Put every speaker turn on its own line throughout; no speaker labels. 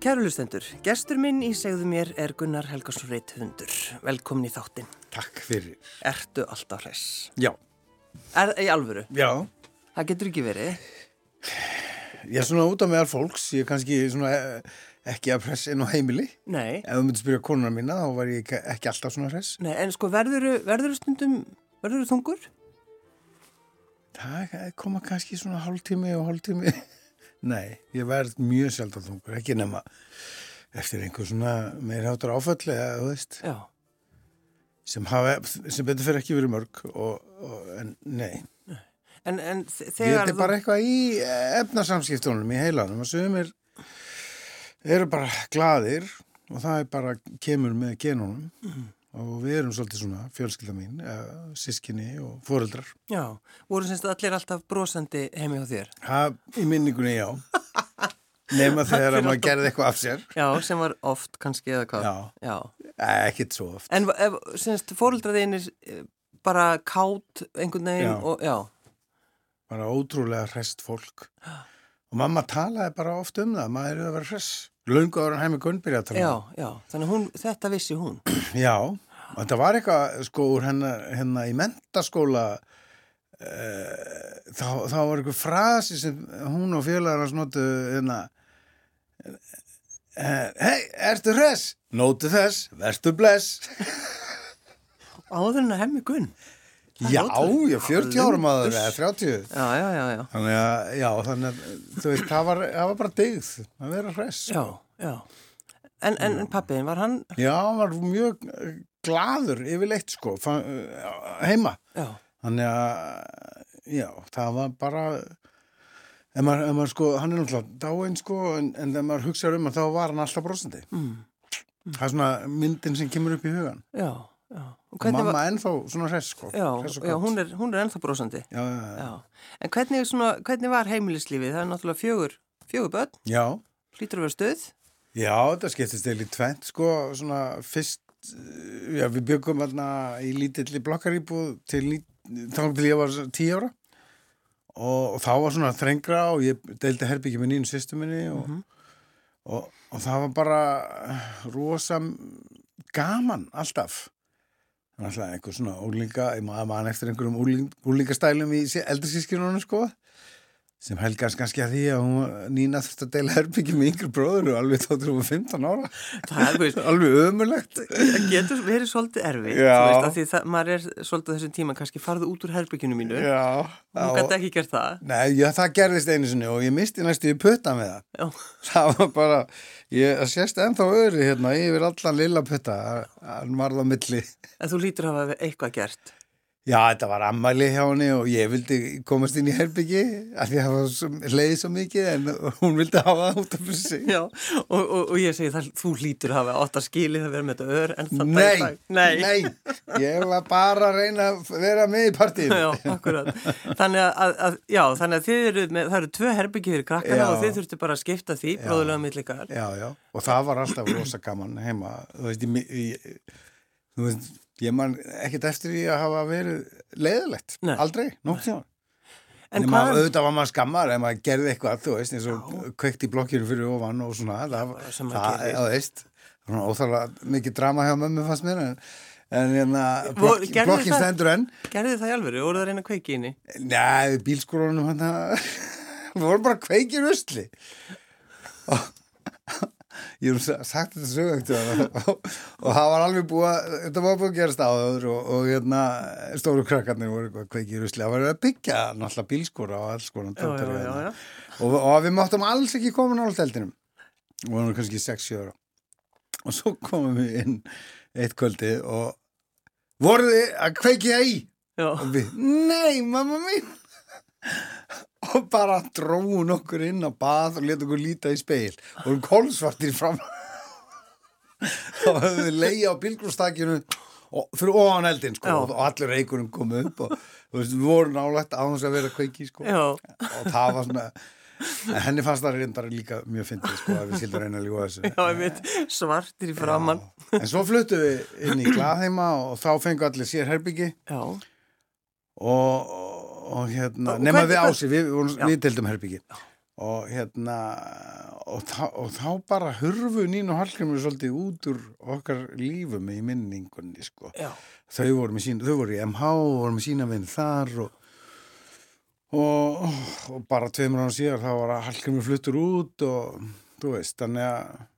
Kæru lustendur, gestur minn í segðu mér er Gunnar Helgarsson Reithundur. Velkomin í þáttinn.
Takk fyrir.
Ertu alltaf hress?
Já.
Er, í alvöru,
Já.
það getur ekki verið.
Ég er svona út af meðal fólks, ég er kannski svona eh, ekki að pressa inn á heimili.
Nei,
Ef þú myndir spyrja konuna mína, þá var ég ekki- ekki alltaf svona hress.
Nei en sko verður verður stundum, verður þungur?
Það koma kannski svona hálftími og hálftími. Nei, ég verð mjög sjaldan þungur, ekki nema eftir einhver svona meirháttur áföll eða, þú veist,
Já,
sem, hafa, sem betur fyrir ekki verið mörg og, og en, nei.
en, en þ-
Ég
þegar
þetta er bara eitthvað í efnasamskiptunum í heilanum og sögumir eru bara glaðir og það er bara kemur með genunum
Mhm.
og við erum svolítið svona fjölskylda mín, eh, sískinni og fóreldrar.
Já, voru semst allir alltaf brosandi heimi hjá þér.
Það í minningunni já, nema þegar að maður gerði eitthvað af sér,
Já, sem var oft kannski eða hvað.
Já.
Já.
Eh, ekkert svo oft.
En ef, semst fóreldraðinir bara kátt einhvern veginn
Já.
og, já.
Bara ótrúlega hrest fólk og mamma talaði bara oft um það, maður eru að vera hress. Lungu ára hann hefði gunnbyrja að tala um það.
Já, já, þannig að hún, þetta vissi hún.
Já, og þetta var eitthvað sko úr hennar, hennar í mentaskóla uh, þá, þá var eitthvað frasi sem hún og félagar hans notu hérna eh, Hei, ertu hress? Nótu þess, vertu bless
Áður en að hemmi gunn. Það er
Já,
ótrúlegt.
já, 40 ára maður
Uss.
eða 30
Já, já, já, já.
Þannig að, já, þannig að, þú veist, það var, það var bara digð að vera hress.
Já, já. En, en, en pappiðin, var hann,
Já, hann var mjög eh, glaður yfirleitt, sko, fann, eh, heima.
já,
Þannig að, já, það var bara, ef maður, ef maður sko, hann er náttúrulega dáinn sko, en, en ef maður hugsaður um að þá var hann alltaf brosandi.
mm,
Það er svona myndin sem kemur upp í hugan.
já, já. Og
Mamma
Hvernig var,
ennþá svona hress sko.
já,
hress og
já,
kát.
hún er, hún er ennþá brosandi.
Já, já,
Já. En hvernig, svona, hvernig var heimilislífið? Það er náttúrulega fjögur, fjögur börn,
já. já,
hlýtur að vera stöð.
já, þetta skiptist eða í tvent sko, svona fyrst, eh, já, við byggum þarna í lítilli blokkaríbúð til, ní- þá til ég var tíu ára. Og, og þá var svona þrengra og ég deildi herbyggi með nýjum sýstu minni og, og, og það var bara rosa gaman alltaf Það var alltaf einhver svona úlinga ég maður mann eftir einhverjum úling, úlingastælum í sí- eldri sískinunum sko sem helgast kannski að því að hún var- Nína þurfti að deila herbyggi með yngri bróður og alveg þáttur hún var 15 ára
Það er, þú veist,
alveg ömulegt
það getur verið svolítið erfið.
Já.
Þú veist, af því það, maður er svolítið á þessum tíma kannski farðu út úr herbygginu mínu.
Já,
Hún gæti ekki gert það.
Nei, já, það gerðist einu sinni og ég misti næstu í putta með það
Já,
það var bara, ég það sést ennþá öðru hérna yfir allan lilla putta, hann varð á milli.
en þú hlýtur að hafa eitthvað gert.
Já, þetta var ammæli hjá henni og ég vildi komast inn í herbyggi af því að það var svo- leiði svo mikið en hún vildi hafa það út af fyrir sig.
Já, og, og, og ég segi það, þú hlýtur að hafa átt að skilið að vera með þetta ör en það dag í dag.
Nei,
nei,
ég var bara að reyna að vera með í partíinu.
Já, akkurat. Þannig að- að, að, já, þannig að þið eru með, það eru tvö herbyggið fyrir krakkana
Já.
og þið þurftu bara að skipta því, bróðulega millikar.
Já, já, og það var alltaf rosa gaman heima, þú veist, ég, ég, þú veist, ég man ekkert eftir því að hafa verið leiðilegt,
Nei.
aldrei, nótt hjá.
En
En
hvað,
maður, auðvitað var maður skammar ef maður gerði eitthvað, þú veist, eins og kveikt í blokkinu fyrir ofan og svona, það,
sem
það,
maður gerist.
þú veist, svona óþálega mikið drama hjá mömmu fannst mér, en, en hérna,
Voru-
blokk,
gerðu
blokkin
það?
stendur enn,
gerði það í alvöru, voruð það að reyna að kveiki inni?
neð, bílskólanum hann að, hérna. við vorum bara kveikir usli. Ég hef sa- sagt þetta sögöngt og, og, og það var alveg búið, að- þetta var búið að gerast áður og, og hérna, stóru krakkarnir voru eitthvað kveikir usli, það var að byggja náttúrulega bílskóra og alls konar
Já, já,
dóttir
já,
hérna
já.
og, og við máttum alls ekki koma nált eldinum og hann var kannski 6-7 ára og svo komum við inn eitt kvöldi og voruð þið að kveiki það í
Já,
og við, nei mamma mín og bara dróun okkur inn á bað og leta okkur líta í speil og hún kólsvartir fram þá höfum við leiði á bílgrústakinu og fyrir ofan eldin sko,
Já.
og allir reikurum komu upp og þú veist, við vorum nálægt á þess að vera kveiki sko
já,
og það var svona en henni fannst það reyndar líka mjög fyndið sko að við skildum reyna að ljúa þessu
já, einmitt, svartir í framann.
en svo fluttum við inn í glaðheima og þá fengu allir sér herbyggi
Já,
og, og hérna,
Og
nema
hvernig-
við ási við, við,
Já.
við deildum herbyggi og hérna og þá, og þá bara hurfu Nínu Hallgrimur svolítið út úr okkar lífum í minningunni sko.
Já.
þau voru, með sín, þau voru í MH og voru með sína vinn þar og, og, og bara tveimur án síðar þá var Hallgrimur fluttur út og þú veist, þannig að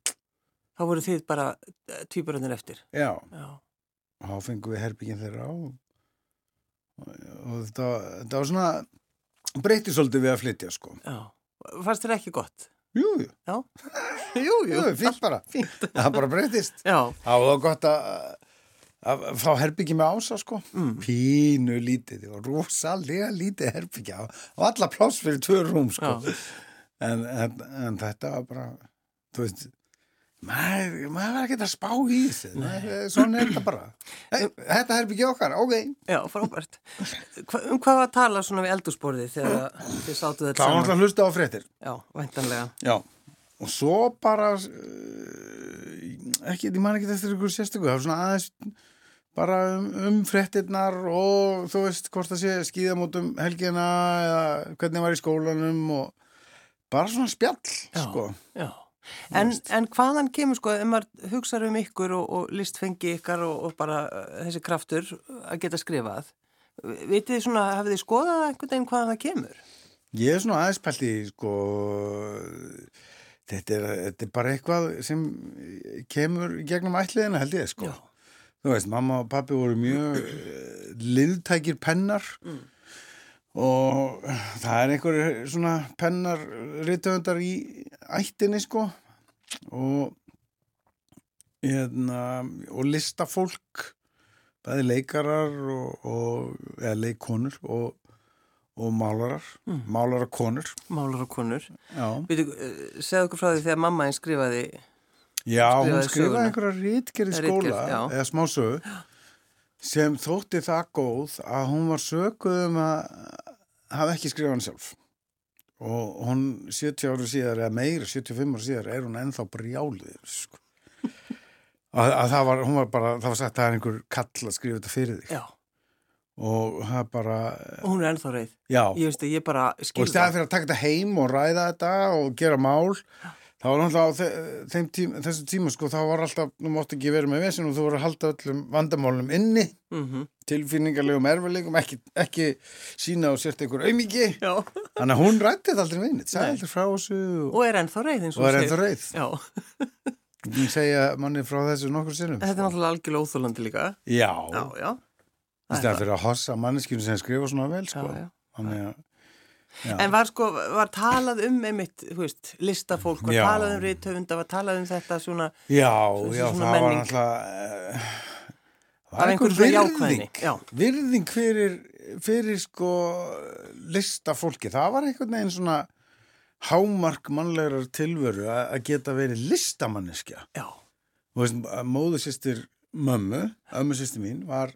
Þá voru þið bara eh, tvíburarnir eftir.
já,
Já.
þá fengum við herbyggin þeirra á og, og þetta, þetta var svona breytir svolítið við að flytja sko
Já. Fannst þér ekki gott?
jú, jú,
Já. jú,
jú, fínt bara það bara breytist
Já.
það var gott að að fá herbyggi með ása sko
Mm.
pínu lítið og rosalega lítið herbyggja og alla pláss fyrir tvö rúm sko
Já.
en, en, en þetta var bara þú veist maður, maður var ekki að spá í þessu Nei, svona er þetta bara hey, þetta herbyggi okkar, ok
Já, frábært. Hva, um hvað var að tala svona við eldúsborðið þegar þið sátu þetta
Það var alltaf að hlusta á fréttir.
Já, væntanlega.
Já. Og svo bara, eh, ekki, ég man ekki eftir ykkur sérstöku, það var svona aðeins bara um, um fréttirnar og þú veist hvort það sé skíðamótum helgina eða hvernig var í skólanum og bara svona spjall,
Já.
sko.
Já. En, en hvaðan kemur sko, ef maður hugsaður um ykkur og, og listfengi ykkar og, og bara eh, þessi kraftur að geta skrifað, vitið þið svona, hafið þið skoðað það einhvern veginn hvaðan það kemur?
Ég er svona aðeins pælt í, sko, þetta er, þetta er bara eitthvað sem kemur í gegnum ætliðina, held ég, sko.
Já.
þú veist, mamma og pappi voru mjög eh, liðtækir pennar og það er einhverju svona pennar ríttöfundar í ættinni sko og hérna, og listafólk bæði leikarar og, og eða leikkonur og, og málarar
Mm.
málarakonur
Málar og konur.
já,
Vitið, eh, segðu okkur frá því þegar mamma einn skrifaði,
já hún
Skrifaði
skrifaði
söguna.
einhverja rítgerð í
Ritgerð,
skóla
já.
eða smásögu sem þótti það góð að hún var sökuð um að hafa ekki skrifað hann sjálf og hún 70 ára síðar eða meira 75 ára síðar er hún ennþá brjálið sko. að, að það var, hún var bara það var sagt að það er einhver kall að skrifa þetta fyrir þig
já,
og það bara,
og hún er ennþá reið.
já
Ég veist að ég bara
og í
skil
staðan
það.
fyrir að taka þetta heim og ræða þetta og gera mál þá var náttúrulega á þe- þeim tím, þessum tíma sko, þá var alltaf, nú mátt ekki verið með vesinu þú voru að halda öllum vandamálum inni
Mm
tilfinningarlegum erfiðleikum ekki, ekki sína og sért einhver aumingi
Já,
þannig að hún rætti þetta aldrei við neitt sagði
Nei.
aldrei frá þessu og,
og er ennþá reið eins og
og er
þú
ennþá
segir.
reyð
Já,
ég segja manni frá þessu nokkur sinnum
þetta er náttúrulega algjörlega óþólandi líka.
já,
Já, já.
í staðan fyrir að hossa manneskinu sem skrifa svona vel sko.
Já, já.
þannig að já.
En var sko, var talað um einmitt, þú veist, listafólk, var
Já.
talað um rithöfunda, var talað um þetta svona,
Já,
Svo-
já,
svo svona
það var
menning.
náttúrulega uh,
Af
var einhver
einhverju svona jákvæðni,
virðing
já.
virðing fyrir, fyrir sko listafólki, það var einhvern veginn svona hámark mannlegar tilveru a- að geta verið listamanneskja
já,
og veist, móðusýstir mömmu ömmusýstir mín var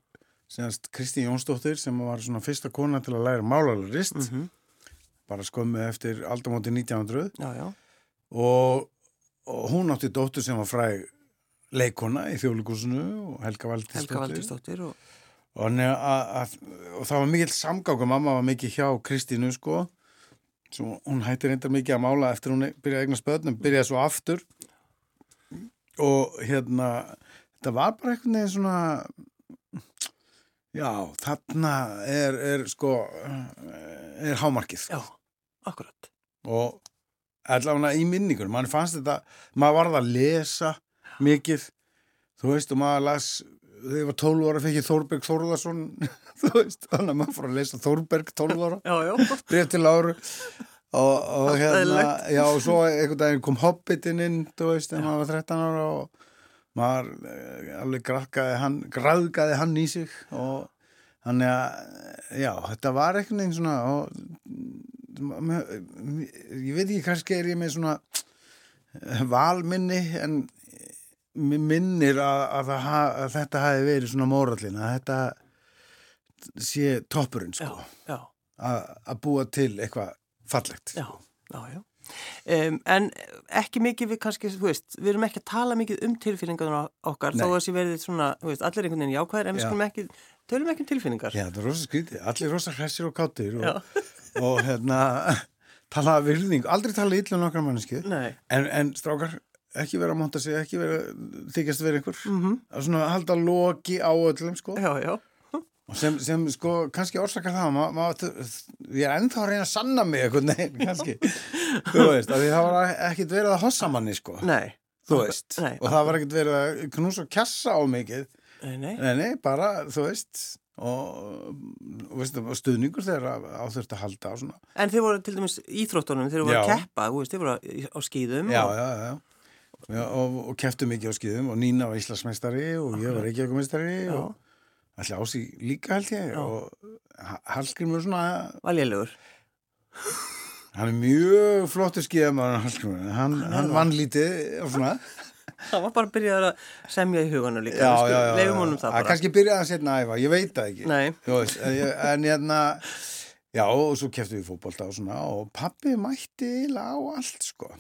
semast Kristi Jónsdóttir sem var svona fyrsta kona til að læra málarlist bara skömmu eftir aldamóti 1900
já, já,
og, og hún átti dóttur sem var fræg leikona í þjóðlíkusinu og Helga
Helga
Valdisdóttir
Valdistóttir og,
og, hann er að- að- og það var mikill samgáku mamma var mikið hjá Kristínu sko svo hún hætti reyndar mikið að mála eftir hún byrjaði að eigna spöðnum, byrjaði svo aftur og hérna þetta var bara einhvern veginn svona já, þarna er, er sko er hámarkið sko
já, akkurat.
og allavega í minningur, mann fannst þetta maður varð að lesa mikið þú veist og maður las þegar ég var 12 ára fekk ég Þórberg Þórðarsson þú veist, þannig að maður fór að lesa Þórberg 12 ára,
Já, sko. já,
bref til áru og, og
Allt
hérna
eðlilegt.
já og svo einhvern daginn kom Hobbitinn inn þú veist, þegar maður var 13 ára og maður eh, alveg græðgaði hann, græðgaði hann í sig og þannig að já, þetta var einhvern veginn svona og m- m- ég veit ekki kannski er ég með svona valminni en mér minnir að, að, það ha, að þetta hafi verið svona mórallin að þetta sé toppurinn
já,
sko
já,
að að búa til eitthvað fallegt
já, já, já. Um, en ekki mikið við kannski, þú veist, við erum ekki að tala mikið um tilfinningarnar okkar,
Nei.
þó að þessi verðið svona, þú veist, allir einhvern veginn jákvæðir, en við
Já.
skulum ekki, tölum ekki um tilfinningar.
Já, þetta er rosa skrítið, allir rosa hressir og kátir
Já.
og, og hérna talaða virðing, aldrei tala illa um nokkra mannesku
Nei.
en, en strákar, ekki vera að monta sig ekki vera, þykjast vera einhver mm -hmm. svona halda loki á öllum sko.
Mhm. Já, já.
Og sem, sem sko, kannski orsakar það ma, ma, ég er ennþá að reyna að sanna mig einhvern veginn, kannski þú veist, af því það var ekkit verið að hossa manni sko,
Nei.
þú veist
Nei.
og það var ekkit verið að knús og kjassa á mikið
Nei, nei.
nei, nei, bara, þú veist og, og veist, og stuðningur þegar á þurft að halda og svona
En þeir voru til dæmis í íþróttunum, þeir voru að
Já.
keppa, þú veist, þeir voru á- á skýðum.
já,
og,
já, já, já og, og keftu mikið á skýðum og Nína var Íslandsmeistari og ég var Reykjavíkumestari
Já.
og allir ási líka held ég og Hallgrímur svona
Var lélugur.
Hann er mjög flottur skíðamaður Hallgrímur. hann, hann vann lítið og svona.
Það var bara að byrja að semja í huganum líka. við
Já, já,
skulum-
já.
Leyfum honum það
Að
bara.
Kannski byrjaði hann setna að æfa, ég veit það ekki.
Nei.
Þú veist, en ég- en hérna, já, og svo keftu við fótbolta og svona og pappi mætti eiginlega á allt, sko.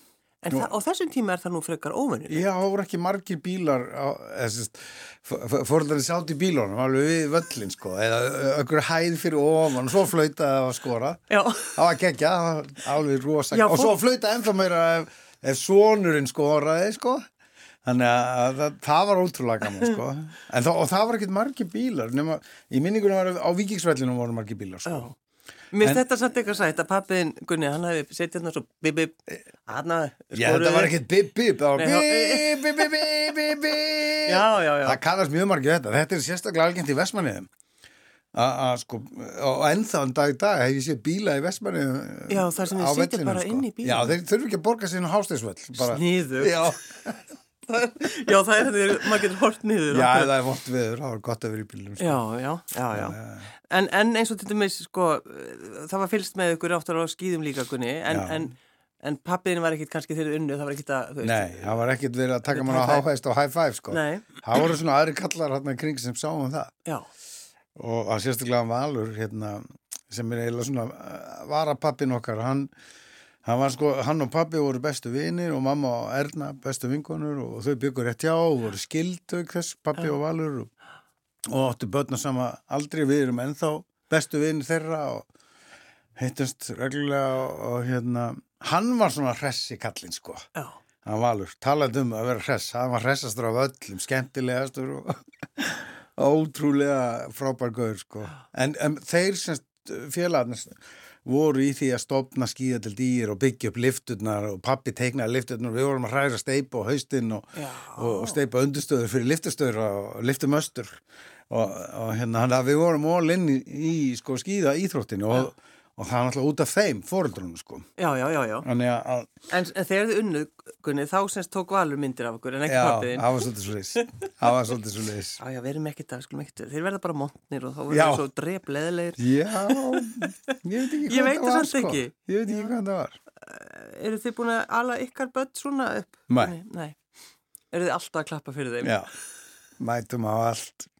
En það, á þessum tíma er það nú frekar óvenjulegt.
Já, það voru ekki margir bílar, fórhaldari sátt í bílunum, alveg við völlin, sko, eða ökkur hæð fyrir ofan og svo flautaði að skora.
Já.
Það var geggja, það var alveg rosa.
Já,
og svo
fólk-
flauta ennþá meira ef, ef sonurinn skoraði, sko. Þannig að það, það var ótrúlega gaman, sko. En það, og það var ekkert margir bílar. Nema, í minningunum var á vikingsvellinu voru margir bílar, sko.
Já. Mér finnst þetta samt eitthvað sætt að pappiðin Gunni, hann hefði setið hérna svo bip bip, hérna, hann að
Já, þetta var ekkert bip, bip, það var
Nei,
bip, bip, bip, bip, bip, bip.
Já, já, já.
Það kannast mjög margir þetta. Þetta er sérstaklega algjönd í Vestmanniðum. Að, sko, og ennþá en dag í dag hef ég séð bíla í Vestmanniðum
Já, þar sem
á
þeir sitja
vellinum, sko.
bara inn í bílnum.
Já, þeir þurfi ekki að borga sinu hástegsvöll. bara-
Sniðugt.
Já.
Já, það er þetta, maður getur hort niður.
Já,
Akkurat.
það er vond veður, það var gott að vera í bílunum sko.
Já, já, já, já. En, en eins og til dæmis, sko, eh, það var fylst með ykkur áttar á skýðum líka, Gunni, en,
Já.
en, en pappiðin var ekkit kannski þeirri unnu, það var ekkit að, þú veist.
Nei, það var ekkert verið að taka
High
mann á
five.
háhæst og high five sko.
Nei.
Það voru svona aðri kallar hérna í kring sem sáum það
Já,
og að sérstaklega Valur hérna, sem er eiginlega svona eh, varapappin okkar, hann hann var sko, hann og pappi voru bestu vinir og mamma og Erna bestu vinkonur og þau byggur rétt hjá og voru skild auk þess, pappi og Valur og, og áttu börna sama aldrei við erum ennþá bestu vinir þeirra og heittast reglulega og, og hérna hann var svona hress í kallinn sko
já,
hann valur, talandi um að vera hress hann var hressastur af öllum, skemmtilegastur og ótrúlega frábær gaur sko en, en þeir sem félagarnir voru í því að stopna skíða til dýr og byggja upp lifturnar og pappi teiknaði lifturnar við vorum að hræra steipa á haustinn og,
já.
og, og steipa undurstöður fyrir liftustöður og liftumöstur og, og hérna þannig að við vorum all inn í, í sko skíða íþróttinu og, og það er náttúrulega út af þeim fóruldrunum sko
já, já, já, já.
þannig að
En, en þegar þið unnu, Gunni, þá semst tók Valur myndir af okkur, en ekki
Já,
pappiðin.
það var svolítið svo leys Það var svolítið svo leys
Já, já, verðum ekkit að, skulum ekkit, þeir verða bara montnir og þá verður
Já.
þeir svo drepleðilegir.
Já, ég veit ekki hvað
Ég veit
það
það
var
samt
sko.
ekki.
Ég veit ekki hvað það var
Eru þið búin að ala ykkar börn svona upp?
Nei.
Gunni? Nei. Eru þið alltaf að klappa fyrir þeim?
Já, mætum á allt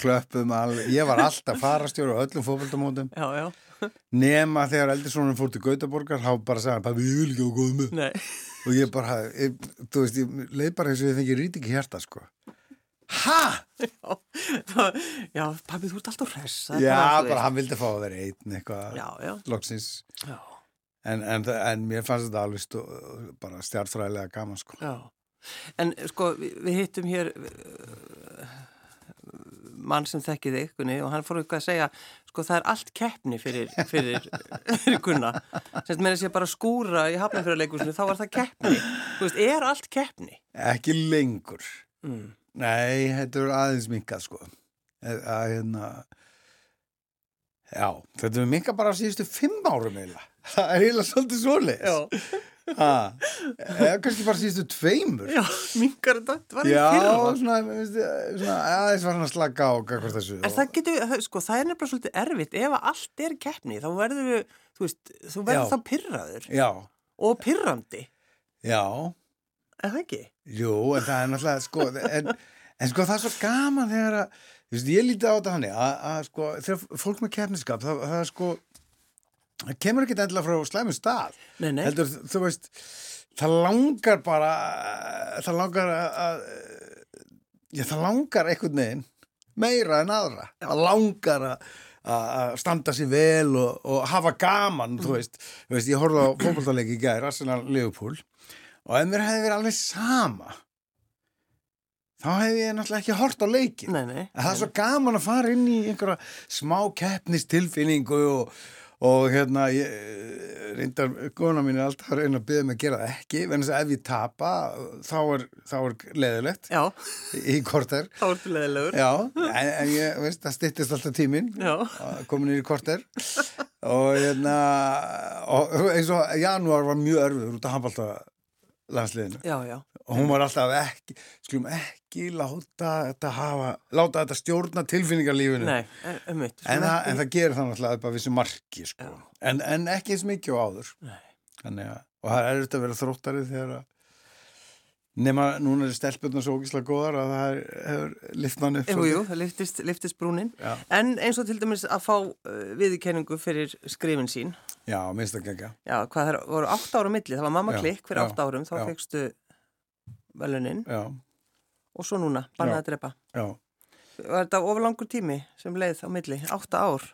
Klöppum alveg Ég var alltaf farastjóri á öllum fótboltamótum
Já, já,
Nema þegar eldursónum fór til Gautaborgar Há bara sagði hann, pappi, ég vil ekki á góðum upp."
nei.
Og ég bara, ég, þú veist, ég leið bara eins og ég fengi rít ekki hérta sko Ha?
Já, það- já pabbi, þú ert alltaf hress. það er
Já,
þú
bara
veist.
hann vildi fá að vera einn eitthvað
Já, já,
Loksins
já,
En, en, en mér fannst þetta alveg stó, bara stjartfræðilega gaman sko.
já. En sko, við, við hittum hér uh, mann sem þekkið þig, Gunni, og hann fór eitthvað að segja, sko, það er allt keppni fyrir, fyrir, fyrir Gunna. Sérst, meina sér bara skúra í hafnafjörðarleikusinu, þá var það keppni. Þú veist, er allt keppni?
Ekki lengur.
Mm.
Nei, þetta er aðeins minkað sko. Að, að, hérna, já, þetta er minkað bara á síðustu fimm árum eiginlega. Það er eiginlega svolítið svoleiðis.
Já,
Ha, Eða kannski bara síðustu tveimur.
já, mingar þetta, þetta var í
Já,
fyrra.
svona, veist, svona aðeins var hann að slaka á hvað þessu.
En það getur, það- sko, það er nefnilega svolítið erfitt, ef að allt er keppni, þá verður við, þú veist, þú verður
Já.
þá pyrraður.
Já,
og pyrrandi,
já.
er það ekki?
Jú, en það er náttúrulega, sko, en, en sko það er svo gaman þegar að, þú veist, ég lítið á þetta hannig að, að sko, þegar fólk með keppniskap, það, það er sko, það kemur ekkert endilega frá slæmum stað.
Nei, nei.
Heldur, þú veist, það langar bara, það langar að, að já, það langar einhvern veginn meira en aðra. Það langar að, að standa sér vel og, og hafa gaman, þú veist. Þú veist, ég horfði á fótboltaleiki í gæri, Arsenal Leopold og ef mér hefði verið alveg sama þá hefði ég náttúrulega ekki hort á leikin.
Nei, nei.
En það er svo gaman að fara inn í einhverja smá keppnistilfinningu og, og hérna, ég, reyndar, góna mín er alltaf að reyna að byggja mig að gera það ekki, en þess að ef ég tapa, þá er, þá er leðilegt
Já,
í korter.
þá ertu leðilegur.
Já, en, en ég, veist, það styttist alltaf tíminn,
Já.
komin í korter og hérna, og, eins og janúar var mjög örfið út af handbalta landsliðinu
Já, já.
og hún var alltaf ekki, skulum ekki láta þetta hafa, láta þetta stjórna tilfinningarlífinu.
Nei, en- um mitt.
En, það, en það gerir það náttúrulega upp að vissu marki, sko. En, en ekki eins mikið og áður.
Nei.
Þannig að, og það er auðvitað að vera þróttari þegar að, nema núna er stelpurnar svo ógislega góðar að það er, hefur liftmann upp
Jú, jú, það liftist, liftist brúnin.
Já.
En eins og til dæmis að fá uh, viðkenningu fyrir skrifin sín.
Já, minnst að gegga.
Já, hvað það voru átt ára milli, það var mamma
Já,
klikk fyrir
já,
átt árum, þá
já.
fegstu velunin
Já,
og svo núna, bannað
Já.
að drepa.
já.
Var þetta oflangur tími sem leið á milli, átta ár?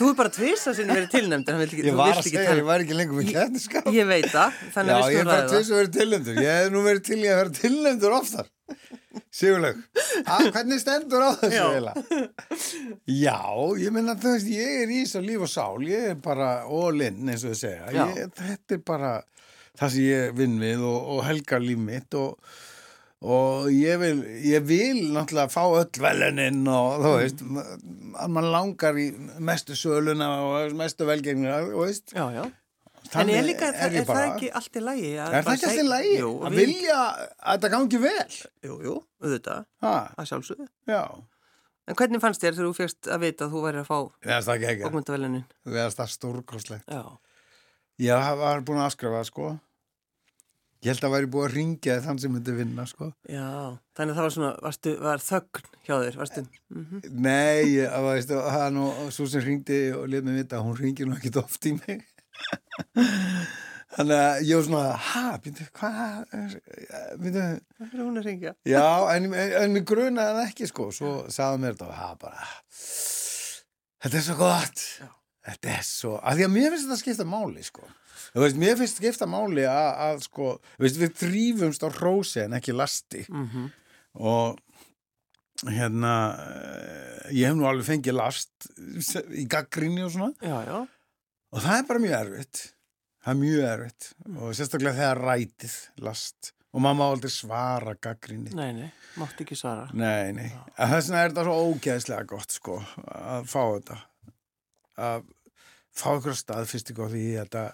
Þú er bara tvisa sinni verið tilnæmd, en hann vil ekki,
Ég
þú
var
vilt
að
ekki
segja, ég var ekki lengur með kætniskap.
Ég veit það, þannig
Já,
að
ég
við
er
skulum
bara
ræða
tvis
um það.
að vera tilnendur. Ég hef nú verið til í að vera tilnendur oftar. Sigurleg. Að hvernig stendur á þessu
Já.
eiginlega? Já, ég minna þú veist, ég er í þessu líf og sál. Ég er bara all-in eins og þau segja.
Já.
Ég, þetta er bara það sem ég vinn við og, og helgar líf mitt og og ég vil, ég vil náttúrulega fá öll velunin og
Mm.
þú veist að mann langar í mestu söluna og mestu velgengina þú veist
Já, já. En
Þannig
ég líka, er,
ég
er það
bara.
ekki allt í lagi? að
Er það
bara
ekki alltaf
segja-
lægi?
Jú,
að
við,
vilja að þetta gangi vel?
jú, jú, auðvitað,
Ha,
að sjálfsögðu.
já.
En hvernig fannst þér þegar þú fyrst að vita að þú væri að fá
Við erum það ekki ekki.
bókmyndavelunin?
Við erum það stórkoslegt.
Já,
Ég var búin að afskrifa það, sko. Ég held að væri búin að ringja þann sem myndi vinna, sko.
já. Þannig að það var svona, varstu, var þögn hjá þér, varstu?
Hm?
Mhm.
Nei, ég, að, veistu, það er nú svo sem ringdi og lef mig vita, hún ringir nú ekkit oft í mig. Þannig að ég var svona, ha, býttu, hvað, býttu,
Það er hún að ringja.
Já, en, en, en mér grunaði hann ekki sko, svo sagði mér þetta og það bara, þetta er svo gott,
Já.
þetta er svo, af því að mér finnst þetta skipta máli sko, þú veist, mér finnst skipta máli að, að sko, þú veist, við þrýfumst á hrósi en ekki lasti
Mhm.
og hérna, eh, ég hef nú alveg fengið last í gaggrinni og svona
Já, já,
og það er bara mjög erfitt, það er mjög erfitt og sérstaklega þegar rætið last og mamma á aldrei svara gaggrinni.
nei, nei, mátt ekki svara.
Nei, nei. Að Þess vegna er þetta svo ógeðslega gott, sko, að fá þetta. Að fá ykkur staðfyrstingu á því að þetta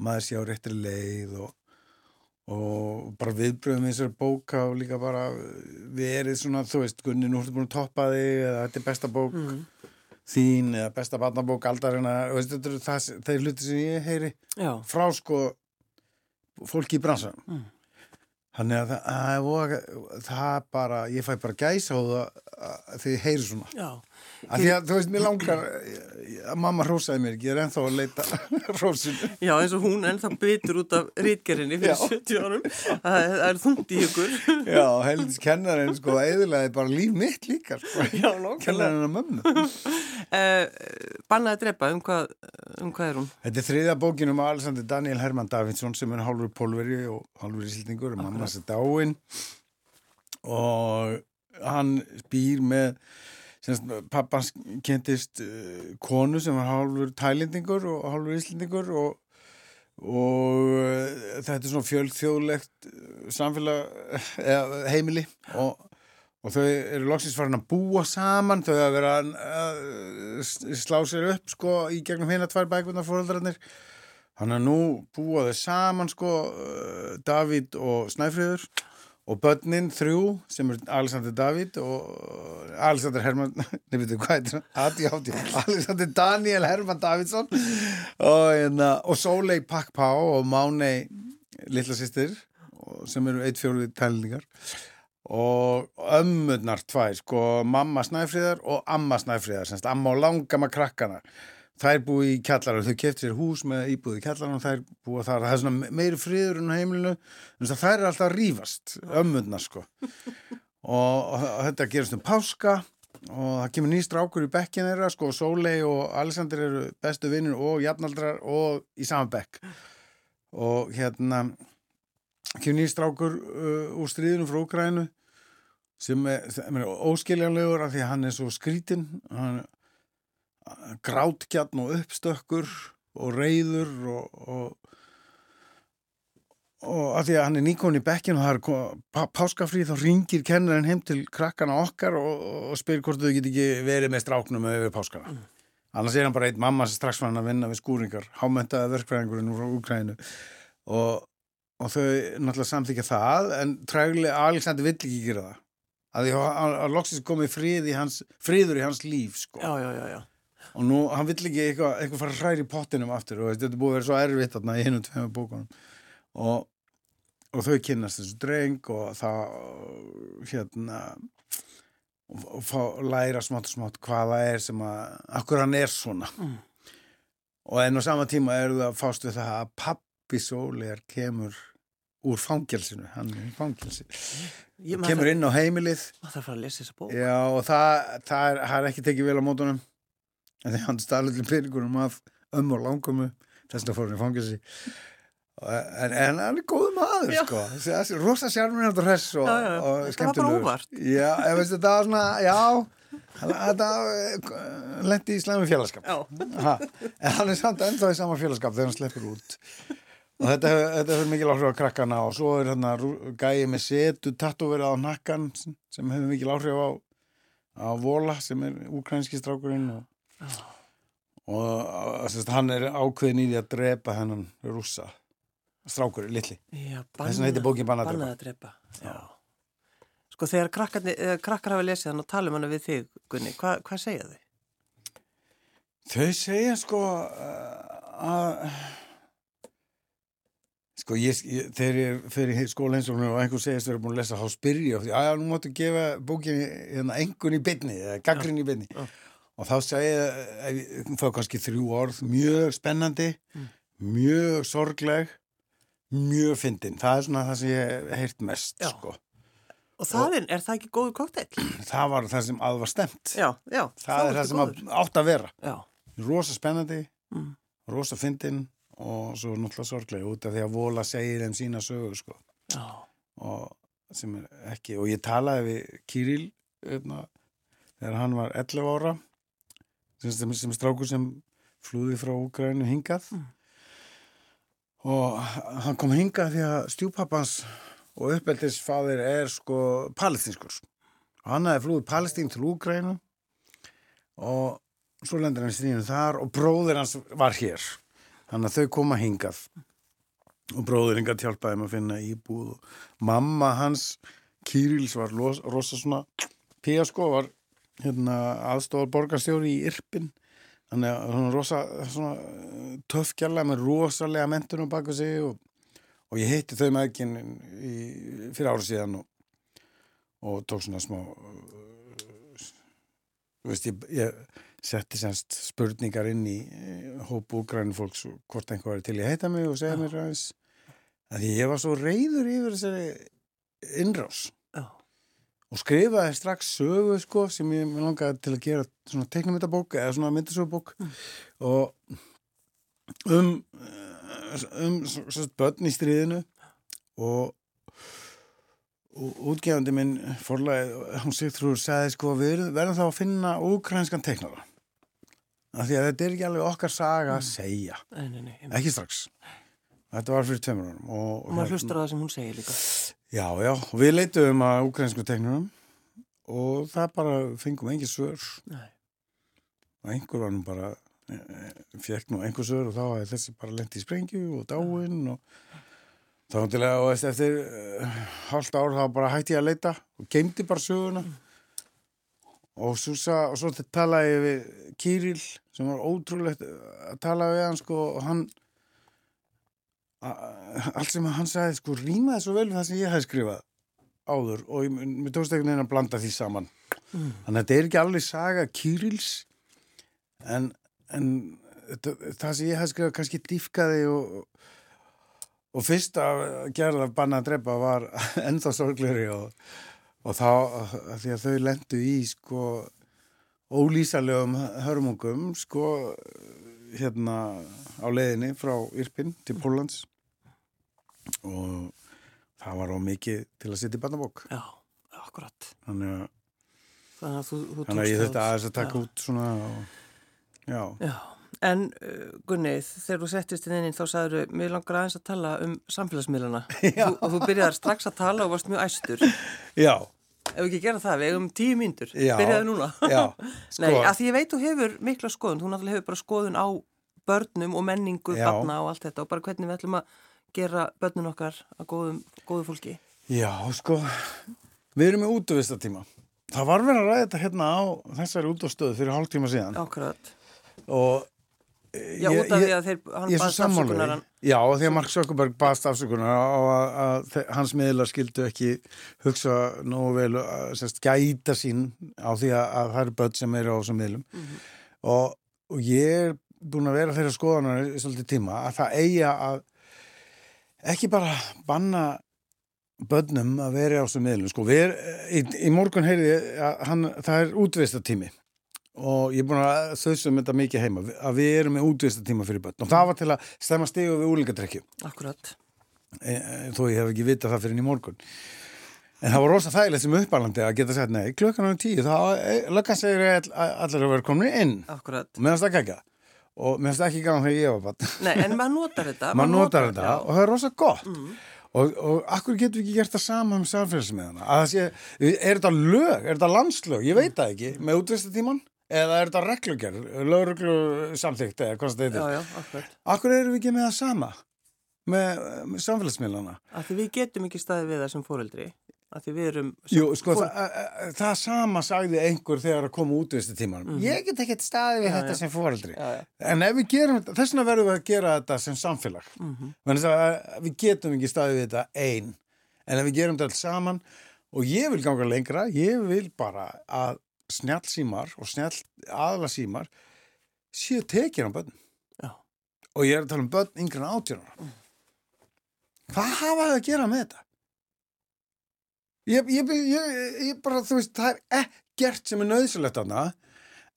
maður sé á réttri leið og, og bara viðbröðum eins og bóka og líka bara verið svona, þú veist, Gunni, nú ertu búin að toppa þig eða þetta er besta
Mm.
bók
Mhm.
þín eða besta barnabók aldarina, veist, þetta eru það, það er hluti sem ég heyri
Já,
frá sko fólki í bransan
Mm.
þannig að það, að það er voða- það bara, ég fæ bara gæsa á það þegar ég heyri svona
já,
að því að þú veist, mér langar að mamma hrósaði mér ekki, ég er ennþá að leita hrósinu
já, eins og hún ennþá byttur út af rítgerinni fyrir
Já.
70 árum. Það er- það er þungt í ykkur.
já, heldins kennarinn sko, eðilaði bara líf mitt líka sko.
Já, nákvæmlega.
kennarinn að mömmu
Uh, bannaði að drepa, um hvað, um hvað er hún?
þetta er þriðja bókin um Alexander Daniel Herman Davidsson sem er hálfur pólveri og hálfur ísildingur og mamma sér dáin og hann býr með semst, pappans kentist uh, konu sem var hálfur tælendingur og hálfur íslendingur og, og uh, þetta er svona fjölþjóðlegt eh, samfélag eða, heimili og, og þau eru loksins farin að búa saman þau að vera að eh, s- slá sér upp sko í gegnum hérna tvær bækunar fóröldrarnir Þannig að nú búa þau saman sko eh, Davíð og Snæfriður og börnin þrjú sem er Alexander Davíð og eh, Alexander Herman nefnir þetta hvað heitir hann? Adi, adi, Alexander Daniel Herman Davidsson og, hérna, og Sólei Pakpá og Mánei litla sýstir sem eru eitt fjórið tælningar og ömmurnar tvær sko mamma Snæfriðar og amma Snæfriðar semst amma og langamma krakkana þær búi í kjallarann, þau keft sér hús með íbúið í kjallarann og þær búa þar það er svona meiri friður en á heimilinu en það þær er alltaf að rífast, ömmurnar sko og, og, og þetta gerist um páska og það kemur nýst rákur í bekkin þeirra sko, Sólei og Alexander eru bestu vinnur og jafnaldrar og í sama bekk og hérna kemur nýst rákur uh, úr stríðinu frá Ukrænu sem er, sem er óskiljanlegur af því að hann er svo skrítinn hann grátgjarn og uppstökkur og reyður og, og, og af því að hann er nýkon í bekkin og það er ko- pá- páskafrí þá ringir kennarinn heim til krakkana okkar og, og spyr hvort þau get ekki verið með stráknum yfir páskana annars er hann bara einn mamma sem strax var hann að vinna við skúringar hámöntaði verkfræðingurinn úr Úkræninu og, og þau náttúrulega samþykja það en trægulega Alexander vill ekki gera það að því að- að að loksins komið frið í hans, friður í hans líf sko
já, já, já, já.
og nú, hann vill ekki eitthvað, eitthvað fara hræri í pottinum aftur og þetta er búið að vera svo erfitt þarna í hinum tveimur bókunum og, og þau kynnast þessu dreng og það hérna og og fá, læra smátt og smátt hvað það er sem að, akkur hann er svona
Mm.
og enn á sama tíma eru það að fást við það að pappi sólegar kemur úr fangelsinu, hann er í fangelsi
Ég, maður,
kemur
þarf,
inn á heimilið
maður þarf að fara að lesa þessa bók
Já, og það, það, er, það er ekki tekið vel á mótunum en því hann staðlutin peningunum af ömmu og langumu þess vegna fór hann í fangelsi en, en hann er góð maður
Já.
sko, þessi, þessi rosa sjármur hann hress og,
Já, já,
og
þetta var bara
skemmtilegur.
óvart.
Já, ég veist þetta var svona, já hann- þetta lendi í slæmi félagskap
Já.
ha, en hann er samt ennþá í sama félagskap þegar hann sleppur út og þetta hefur þetta hefur mikil áhrif á krakkana og svo er hann gæið með setu tattóverið á nakkan sem sem hefur mikil áhrif á, á Vola sem er ukrainski strákurinn og, og, og sérst, hann er ákveðin í því að drepa hennan rússa strákurinn, litli
Já,
Þess vegna heitir bókin Bannað að drepa.
að drepa. Já. Sko þegar krakkarni, eh, krakkar hafa lesið hann og tala um hann við þig, Gunni, hva, hvað segja þau?
Þau segja sko uh, að sko ég, ég þegar ég fyrir skólaheimsóknum og einhver segist vera búin að lesa þá spyr ég oft, já nú máttu gefa bókinni hérna, engun í byrni eða gaggrinn í byrni
Já.
og þá segja eh, ef ég fá kannski þrjú orð mjög spennandi
Mm.
mjög sorgleg mjög fyndin, það er svona það sem ég hef heyrt mest
Já.
sko,
Og það er, er það ekki góðu kokteill?
það var það sem að var stemt
Já, já. þá
það er
ertu
það sem að,
góður.
átt að vera
Já,
rosa spennandi
Mm.
rosa fyndin og svo náttúrulega sorglega út af því að vola segir þeim sína sögu sko.
já,
og sem er ekki og ég talaði við Kirill hérna, þegar hann var 11 ára sem, sem, sem strákur sem flúði frá Ukraínu hingað og hann kom hingað því að stjúpappans og uppeldisfadir er sko palestinskur og hann hafði flúið palestín til Úgrænu og svo lendir hann í stríðinu þar og bróðir hans var hér þannig að þau koma hingað og bróðir hingað hjálpaði þeim að finna íbúð og mamma hans Kýrils var los, rosa svona Pía sko var hérna, aðstofar borgarstjóri í Irpin þannig að hún var rosa svona töfkjalla með rosalega mentunum baka sig og, og ég hitti þau með ekki fyrir ára síðan og, og tók svona smá Þú veist, ég, ég setti semst spurningar inn í eh, hóp úgrænu fólks og hvort einhver er til ég heita mig og segja mér aðeins að því ég var svo reyður yfir þessari innrás
já,
og skrifaði strax sögu sko sem ég mig langaði til að gera svona teknumyndabók eða svona myndasögubók
Mm.
og um eh, um svona börn í stríðinu og og útgefandi minn forlæð, hún Sigtrúr sagði sko við erum- verðum þá að finna ukrainskan teiknara af því að þetta er ekki alveg okkar saga
Mm.
að segja
nei, nei, nei.
ekki strax þetta var fyrir tveimur árum og, hérna-
Og maður hlustar á það sem hún segir líka.
Já, já, og við leituðum að ukrainsku teknurum og það bara fengum engin svör
Nei.
og einhver var nú bara fekk nú einhver svör og þá hefði þessi bara lent í sprengju og dáinn og þá hundilega og eftir, eftir uh, hálft ár þá bara hætti ég að leita og geimdi bara söguna og, Súsa, og svo talaði ég við Kýril sem var ótrúlegt eh, að tala við hann sko og hann a- allt sem hann sagði sko rýmaði svo vel við það sem ég hef skrifað áður og ég, mér tókst einhvern veginn að blanda því saman þannig að þetta er ekki alveg saga Kýrils en, en þetta, það sem ég hef skrifað kannski dýfkaði og og fyrst að gerða af banna að drepa var ennþá sorgleri og, og þá að því að þau lendu í sko ólýsalegum hörmungum sko hérna á leiðinni frá Irpin til Pólans og það var á mikið til að setja í barnabók
já, akkurat.
þannig að,
Þannig að þú, þú
þannig að ég
tókst
þurfti
það-
aðeins að taka
já.
út svona og, já,
Já, en uh, Gunnið, þegar þú settist inn inn þá sagður þau, mér langar aðeins að tala um samfélagsmiðlana þú, og þú byrjaðar strax að tala og varst mjög æstur.
já,
Ef við ekki gera það, við eigum tíu myndur,
Já.
byrjaðu núna.
já sko.
Nei, að því ég veit þú hefur mikla skoðun, þú náttúrulega hefur bara skoðun á börnum og menningu
Já.
barna og allt þetta og bara hvernig við ætlum að gera börnun okkar að góðum, góðu fólki.
Já, sko, við erum í útvistatíma. Það var verið að ræða þetta hérna á þessari útvistöðu fyrir hálftíma síðan.
Akkurat.
Og
Já, út af því að þeir, hann
ég er svo
baðst
sammála
afsökunar,
því.
hann-
Já, því að Mark Sökkuberg baðst afsökunar á að, að þe- hans miðlar skildu ekki hugsa nógu vel að sérst, gæta sín á því að, að það eru börn sem eru á þessum miðlum
Mhm.
og, og ég er búin að vera þeirra skoðanar í svolítið tíma að það eiga að ekki bara banna börnum að vera á þessum miðlum sko, við, í, í morgun heyrði ég að hann, það er útvistatími og ég er búin að þauðsum þetta mikið heima að við erum með útvistatíma fyrir börn og það var til að stemma stigu við úlingadrekju
akkurat.
e, e, þó ég hef ekki vitað það fyrir en í morgun en það var rosa þægilegt sem uppalandi að geta sagt nei, klukkan á tíu það e, löggan segir all, allir að vera komin inn
Akkurat.
og meðan það ekki og meðan það ekki gaman þegar ég var bann
Nei, en maður notar þetta. Mm.
maður notar þetta
já.
og það er rosa gott og, og akkur getum við ekki gert það sama um samfélagsmiðana að það sé, er þetta lög, er þetta landslög ég veit það ekki, með útvistatíman eða er þetta reglugjörn, lögreglu samþykkt eða hvað það
Já,
heitir
já, akkurat.
akkur erum við ekki með það sama með, með samfélagsmiðlana
Af því við getum ekki staðið við það sem fóreldri. Af því við erum...
Jú, sko,
fór-
það, það, það sama sagði einhver þegar að koma útvistatíman ég get ekki staðið við þetta sem fóreldri
Mhm. Já, já.
En ef við gerum þetta, þess vegna verðum við að gera þetta sem samfélag. Mm -hmm. Við getum ekki staðið við þetta einn. En ef við gerum þetta alls saman og ég vil ganga lengra, ég vil bara að snjallsímar og snjall aðlasímar séu tekið á börn.
Já.
Og ég er að tala um börn yngri en átjónara. Hvað hafa þau að gera með þetta? Ég, ég, ég, ég bara, þú veist, það er ekkert sem er nöðsilegt þarna.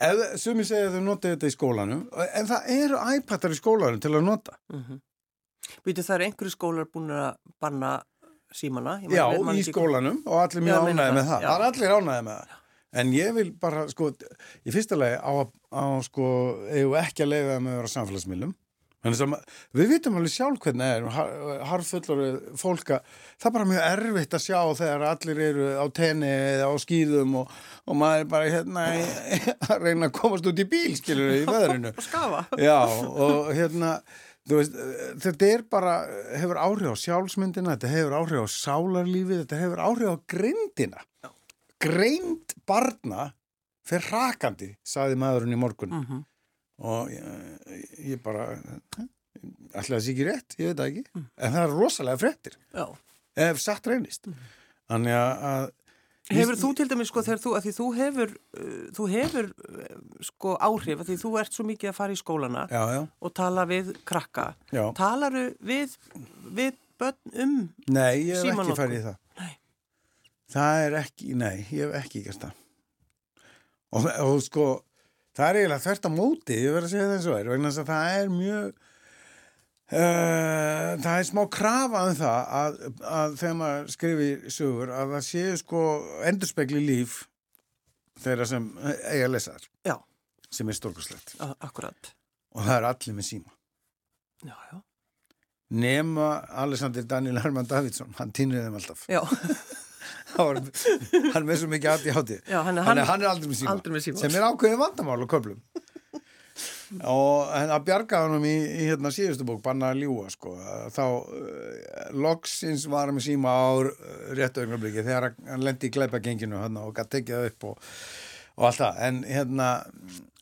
Ef, sumi segja að þau notið þetta í skólanum, en það eru iPadar í skólanum til að nota.
Mm -hmm. Býtu, það eru einhverju skólar búin að banna símana. Ég man-
Já,
man
í
ekki-
skólanum og allir
Já,
mjög
meina
ánæði
það,
með það.
já.
Það er allir ánæði með það. En ég vil bara, sko, í fyrsta lagi á, að- á sko, eigum við ekki að leiða með að vera samfélagsmiðlum. Þannig sem að- Við vitum alveg sjálf hvernig það er, har- harfullur fólka, það er bara mjög erfitt að sjá þegar allir eru á tenni eða á skýðum og, og maður er bara hérna í- að reyna að komast út í bíl, skilur við, í veðrinu.
Og skafa.
Já, og hérna, þú veist, þetta er bara, hefur áhrif á sjálfsmyndina, þetta hefur áhrif á sálarlífið, þetta hefur áhrif á grindina. Greind barna fer rakandi, saði maðurinn í morgun.
Mm
Og ég, ég bara, ætlaði það sé ekki rétt, ég veit það ekki.
Mm.
En það er rosalega fréttir,
Já.
ef satt reynist.
Mm.
Þannig að, að
Hefur þú til dæmis sko þegar þú, að því þú hefur, uh, þú hefur uh, sko áhrif, að því þú ert svo mikið að fara í skólana
já, já,
og tala við krakka.
já.
Talaru við, við börn um,
Nei, ég hef
Símanotkun.
ekki farið í það.
Nei.
Það er ekki, nei, ég hef ekki gert það. Og, og sko, það er eiginlega þvert á móti, ég verð að segja það eins og er, vegna þess að það er mjög, uh, það er smá krafa um það að, að þegar maður skrifir sögur að það séu sko endurspegli líf þeirra sem eiga lesaðar,
já,
sem er stórkurslegt.
a- akkurat.
Og það er allir með síma.
Já, já.
Nema Alexander Daniel Herman Davidsson, hann týnir þeim alltaf.
Já,
Það var, hann er með svo mikið aðti hátti
já hann,
hann, hann er aldrei með síma,
aldrei með síma.
sem er ákveðið vandamál og köflum og en að bjarga hann í, í hérna síðustu bók banna að ljúa sko þá uh, loksins var hann með síma á uh, réttu augnabliki þegar hann- hann lendi í gleipagenginu hann og gætt tekið það upp og, og allt það en hérna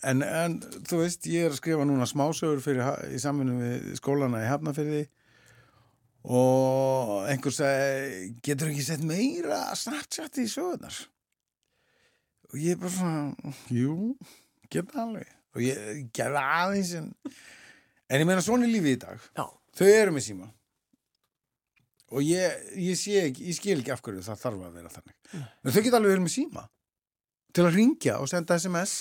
en, en þú veist ég er að skrifa núna smásögur fyrir, ha- í samvinni við skólana í Hafnafyrði og einhver sagði getur ekki sett meira snartjátt í sögurnar og ég bara svona, jú, geta alveg og ég gerði aðeins en, en ég meina svona er lífið í dag
Já,
þau eru með síma og ég, ég sé ekki, ég skil ekki af hverju það þarf að vera þannig en þau geta alveg verið með síma til að ringja og senda sms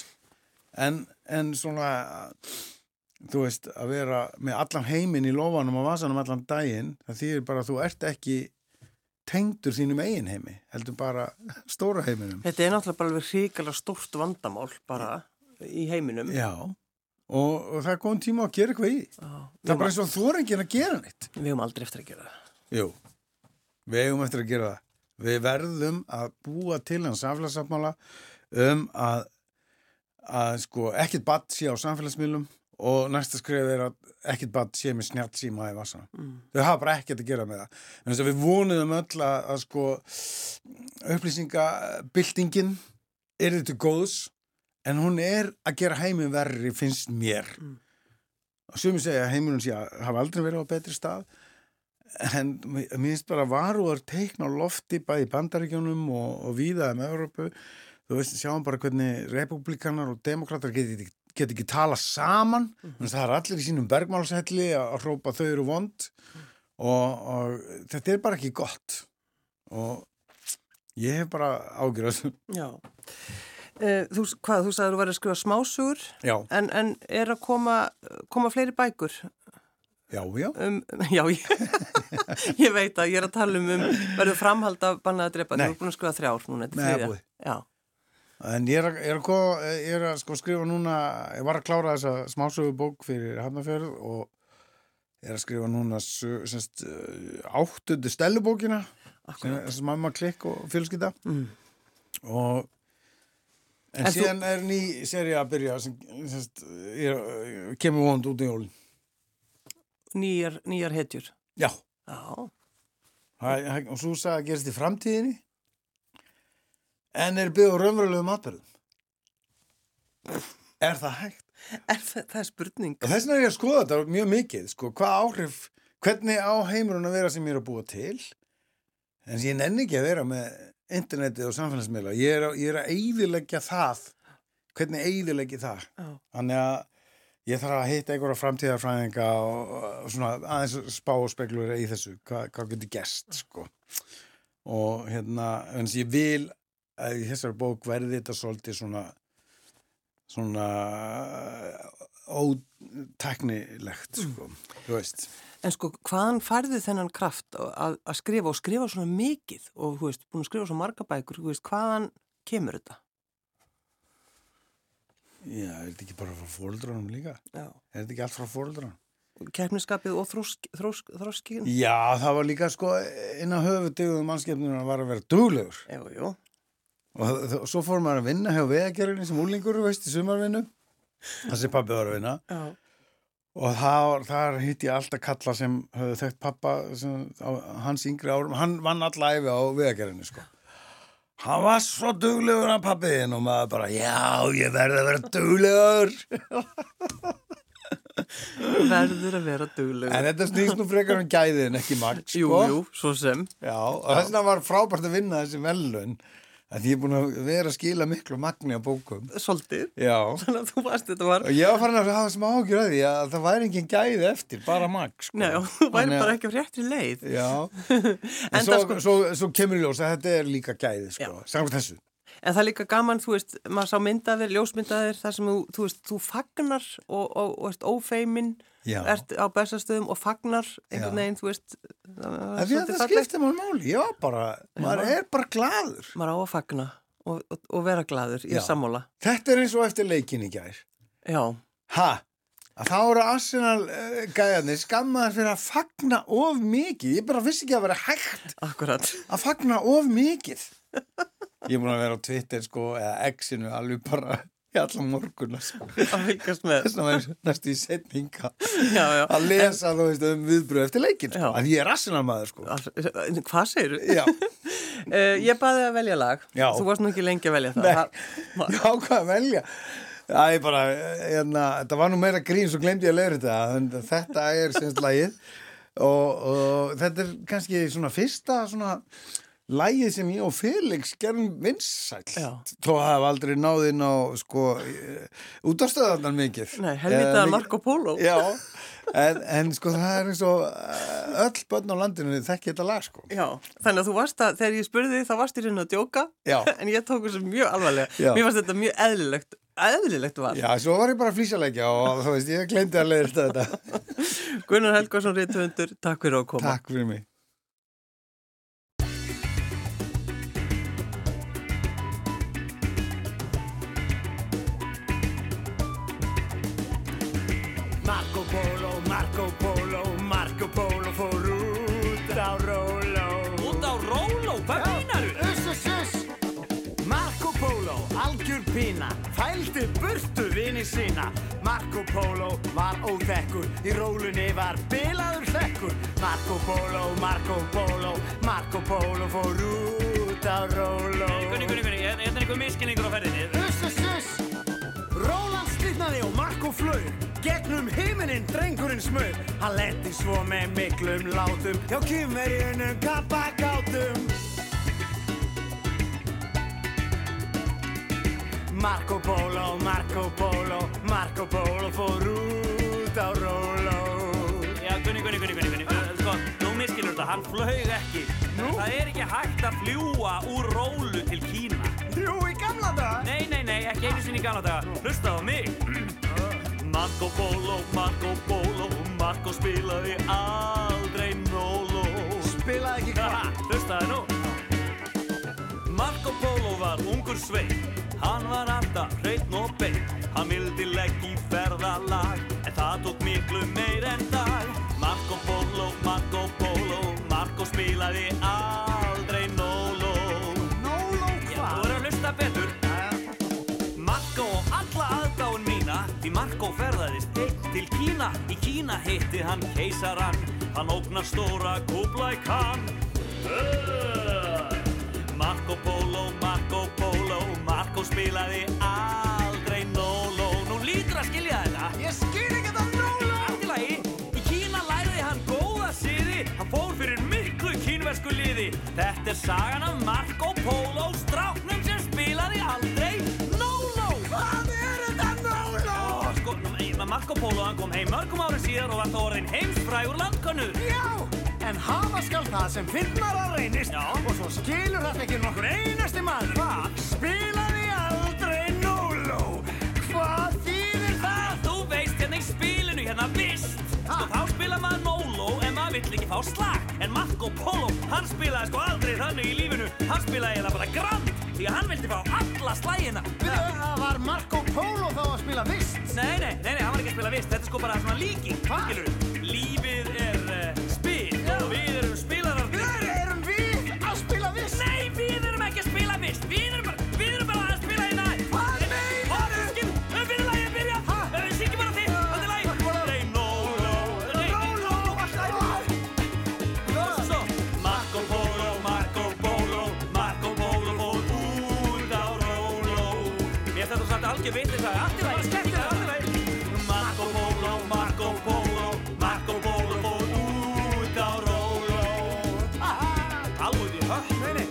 en, en svona þú veist, að vera með allan heiminn í lofanum og vasanum allan daginn það þýðir bara að þú ert ekki tengdur þínum eigin heimi heldur bara stóra heiminum
Þetta er náttúrulega bara alveg hrikalega stórt vandamál bara í heiminum.
Já, og, og það er góðan tíma að gera eitthvað í því.
Já,
það
við,
er bara eins og þú er ekki að gera neitt
við höfum aldrei eftir að gera það.
Jú, við eigum eftir að gera það. Við verðum að búa til hans aflagsafmála um að, að sko, ekkert batt sé á samfélagsmiðlum og næsta skrif er að ekkert batt sé með snjátt síma í vassana.
Mm.
Þau hafa bara ekkert að gera með það. En þess að við vonuðum öll að, að sko, upplýsingabildingin er þetta góðs en hún er að gera heiminn verri finnst mér.
Mm.
Og sumir segja að heiminn sé að hafa aldrei verið á betri stað en mér mér finnst bara varúar teikna á lofti bæði í bandaríkjónum og, og víða um Evrópu þú veist, sjáum bara hvernig republikanar og demokrater geti, ekki- geti ekki tala saman mm það er allir í sínum bergmálshelli að að hrópa þau eru vond og, og þetta er bara ekki gott og ég hef bara ágjur þessu
Já. Eh, Þú, hvað, þú sagði að þú væri að skrifa smásugur
já,
en, en er að koma, koma fleiri bækur
já, já,
um, já, ég, ég veit að ég er að tala um, um verður framhald af bannað að drepa,
Nei.
þú er búin að skrifa þrjár núna, þetta
Nei,
er
búið.
þriðja. Já,
en ég er að, er að, ko- ég er að sko skrifa núna ég var að klára þessa smásögubók fyrir Hafnafjörð og er að skrifa núna sö- semst, eh, áttundu stellubókina sem
akkurat.
er sem mamma klikk og fjölskylda
Mm.
og en,
En þú-
síðan er ný seri að byrja sem, semst, ég, er- kemur vond út í jólin
Nýjar, nýjar hetjur.
já,
Já,
það- það- og svo sagði að gerist í framtíðinni en er byggð á raunverulegum atbyrðum er það hægt?
er, það, það er spurning.
Og Þess vegna er ég að skoða þetta mjög mikið, sko, hvað áhrif, hvernig á heimurinn að vera sem ég er að búa til, en ég nenni ekki að vera með internetið og samfélagsmiðla, ég er að, ég er að eyðileggja það, hvernig eyðileggi það,
Já.
þannig að ég þarf að hitta einhverja framtíðarfræðinga og, og svona aðeins spá og speklur í þessu, hvað, hvað getur gest, sko, og hérna, en ég vil að í þessari bók verði þetta svolítið svona, svona óteknilegt sko. þú veist
En sko, hvaðan færðu þennan kraft að, að skrifa og skrifa svona mikið og, þú veist, búin að skrifa svo marga bækur, þú veist, hvaðan kemur þetta?
já, er þetta ekki bara frá fóreldrunum líka
Já.
er þetta ekki allt frá fóreldrunum
Kefniskapið og þrósk, þrósk, þróskiðin?
já, það var líka sko inn á höfudegum mannskepnuna var að vera duglegur
Jú, jú.
og þ- þ- svo fór maður að vinna hjá veðagerðinni sem úlingur, þú veist, í sumarvinnu þessi pabbi var að vinna
Já.
og þar, þar hitt ég alltaf kalla sem höfðu þekkt pappa sem, á, hans yngri árum, hann vann alla æfi á vegagerinu sko hann var svo duglegur að pappiðin og maður bara, já, ég verði að vera duglegur
Verður að vera duglegur.
en þetta snýst nú frekar um gæðin, ekki magt sko.
Jú, jú, svo sem.
Já, og þess vegna var frábært að vinna þessi velun að ég er búin að vera að skila miklu magni á bókum
Svolítið.
já,
Þannig að þú varst, þetta var,
og ég var farin að hafa smá ágjur að því að það væri engin gæði eftir, bara magt sko.
Nei, já, þú væri
Þannig að-
bara ekki á réttri leið.
Já, en
En
svo,
það sko-
svo, svo kemur í ljós að þetta er líka gæði, sko, samkvæmt þessu.
En það er líka gaman, þú veist, maður sá myndaðir, ljósmyndaðir, þar sem þú, þú veist, þú fagnar og, og, og ert ófeimin,
Já.
ert á bestastöðum og fagnar einhvern
Já.
veginn, þú veist, það
Það
var
er því að
svolítið
það
fallegt.
skiptir maður máli, já, bara, maður er bara glaður.
Maður á að fagna og, og, og vera gladur í
Já.
sammála.
Þetta er eins og eftir leikin í gær.
Já,
Ha, að þá eru Arsenal uh, gæðanir skammaðar fyrir að fagna of mikið. Ég bara vissi ekki að vera hægt
akkurat.
að fagna of mikið. Ég er búin að vera á Twitter, sko, eða X-inu alveg bara í allan morgun, sko.
Að fylgjast með.
Þess að maður er næstu í setninga
Já, já.
að lesa, þú veist, um viðbröð eftir leikin, sko.
Já.
Að ég er Arsenal maður, sko.
En Hvað segir þú?
Já,
ég baði að velja lag.
Já.
Þú varst nú ekki lengi að velja það.
Nei.
það
ég ákvað að velja. Það er bara, hérna, þetta var nú meira grín svo glemdi ég að leiður þetta, en þetta er semst lagið og, og þetta er kannski svona fyrsta svona Lægið sem ég og Felix gerum vinsælt
Já.
þó að hafa aldrei náðinn á sko, útastöðarnar mikið
Nei,
Eh,
helvitaða
mikið-
Marco Polo.
Já, en, en sko það er eins og eh, öll börn á landinu þekki þetta lag sko
Já, þannig að þú varst að, þegar ég spurði þig, þá varst ég reyna að djóka,
Já.
en ég tók þessu mjög alvarlega.
Já.
Mér fannst þetta mjög eðlilegt, eðlilegt var.
Já, svo var ég bara að flýsalegja og þú veist, ég gleyndi að leiða þetta
Gunnar Helgarsson, reytuhundur, takk fyrir að koma.
Takk fyrir mig
Marco Polo, Marco Polo, Marco Polo fór út á róló Út á róló? Hvað meinaru? Uss, uss, uss Marco Polo, algjör pína, fældi burtu vini sína Marco Polo var óþekkur, í rólunni var bilaður hlekkur Marco Polo, Marco Polo, Marco Polo fór út á róló
Gunni, Gunni, Gunni, hérna er einhver miskinningur á ferðinni.
Uss, uss, uss Róland slitnaði og Marko flög Gegnum himininn drengurinn smög Hann lendi svo með miklum látum Hjá kýmverjunum kappakátum Marco Polo, Marco Polo Marco Polo fór út á róló
Já, Gunni, Gunni, Gunni, Gunni, Gunni. Uh, Sko, nú miskinur þetta, hann flög ekki.
Nú?
Það er ekki hægt að fljúa úr rólu til Kína.
Jú, í gamla dag
Nei, nei, nei, ekki einu sinni í gamla daga. Hlusta á mig. Marco Polo, Marco Polo, Marco spilaði aldrei nólo.
Spilaði ekki hvað
Hlustaði nú. Marco Polo var ungur sveit Hann var alltaf hreitn og beitt Hann vildi legg í ferðalag En það tók miklu meir en dag Marco Polo, Marco Polo Marco spilaði aldrei nóló
Nóló
Já, þú
hvað
verður að hlusta betur Marko og alla aðdáun mína Því Marko ferðaðist einn til Kína Í Kína heitti hann keisaran Hann ógnar stóra Kublai Khan Uh! Marco Polo, Marco Polo Marco spilaði aldrei nóló Nú lítur að skilja þetta
Ég skil ekki þetta nóló
Allt í lagi. Í Kína læriði hann góða siði, hann fór fyrir miklu kínversku liði. Þetta er sagan af Marco Polo, stráknum sem spilaði aldrei no-no.
Hvað er þetta nóló?
Ó, sko, nú- Marco Polo hann kom heim mörgum ára síðar og var það orðin heimsfrægur landkönnur.
Já, en hafa skal það sem finnar að reynist
Já.
Og svo skilur þetta ekki nokkur einasti maður Hvað? Spilaði aldrei nóló Hvað þýðir það?
Það, þú veist hérna í spilinu hérna vist Sko,
Ha?
þá spila maður móló en maður vill ekki fá slag En Marco Polo, hann spilaði sko aldrei þannig í lífinu Hann spilaði hérna bara grand Því að hann vildi fá alla slagina
Byrju, Það var Marco Polo þá að spila vist
Nei, nei, nei, nei, hann var ekki að spila vist, þetta er sko bara svona líking,
Ha?
skilur Lífið er uh, spil og við erum spilarar
Hver erum við að spila vist?
Nei, við erum ekki að spila vist, við erum bara, við erum bara að spila hérna
Hvað meinarðu?
Orðskip, við erum lagið að byrja, við syngjum bara þig, þetta er lagið Nei, no, no, nei,
Nóló, hvað?
Svo, Marco Polo, Marco Polo, Marco Polo fór út á róló Mér þetta samt algjör vitið það, allt í lagi, skemmt það, allt í lagi Marco Polo, Marco Polo, Marco Polo fór út á róló Alveg því, hö?
Nei, nei,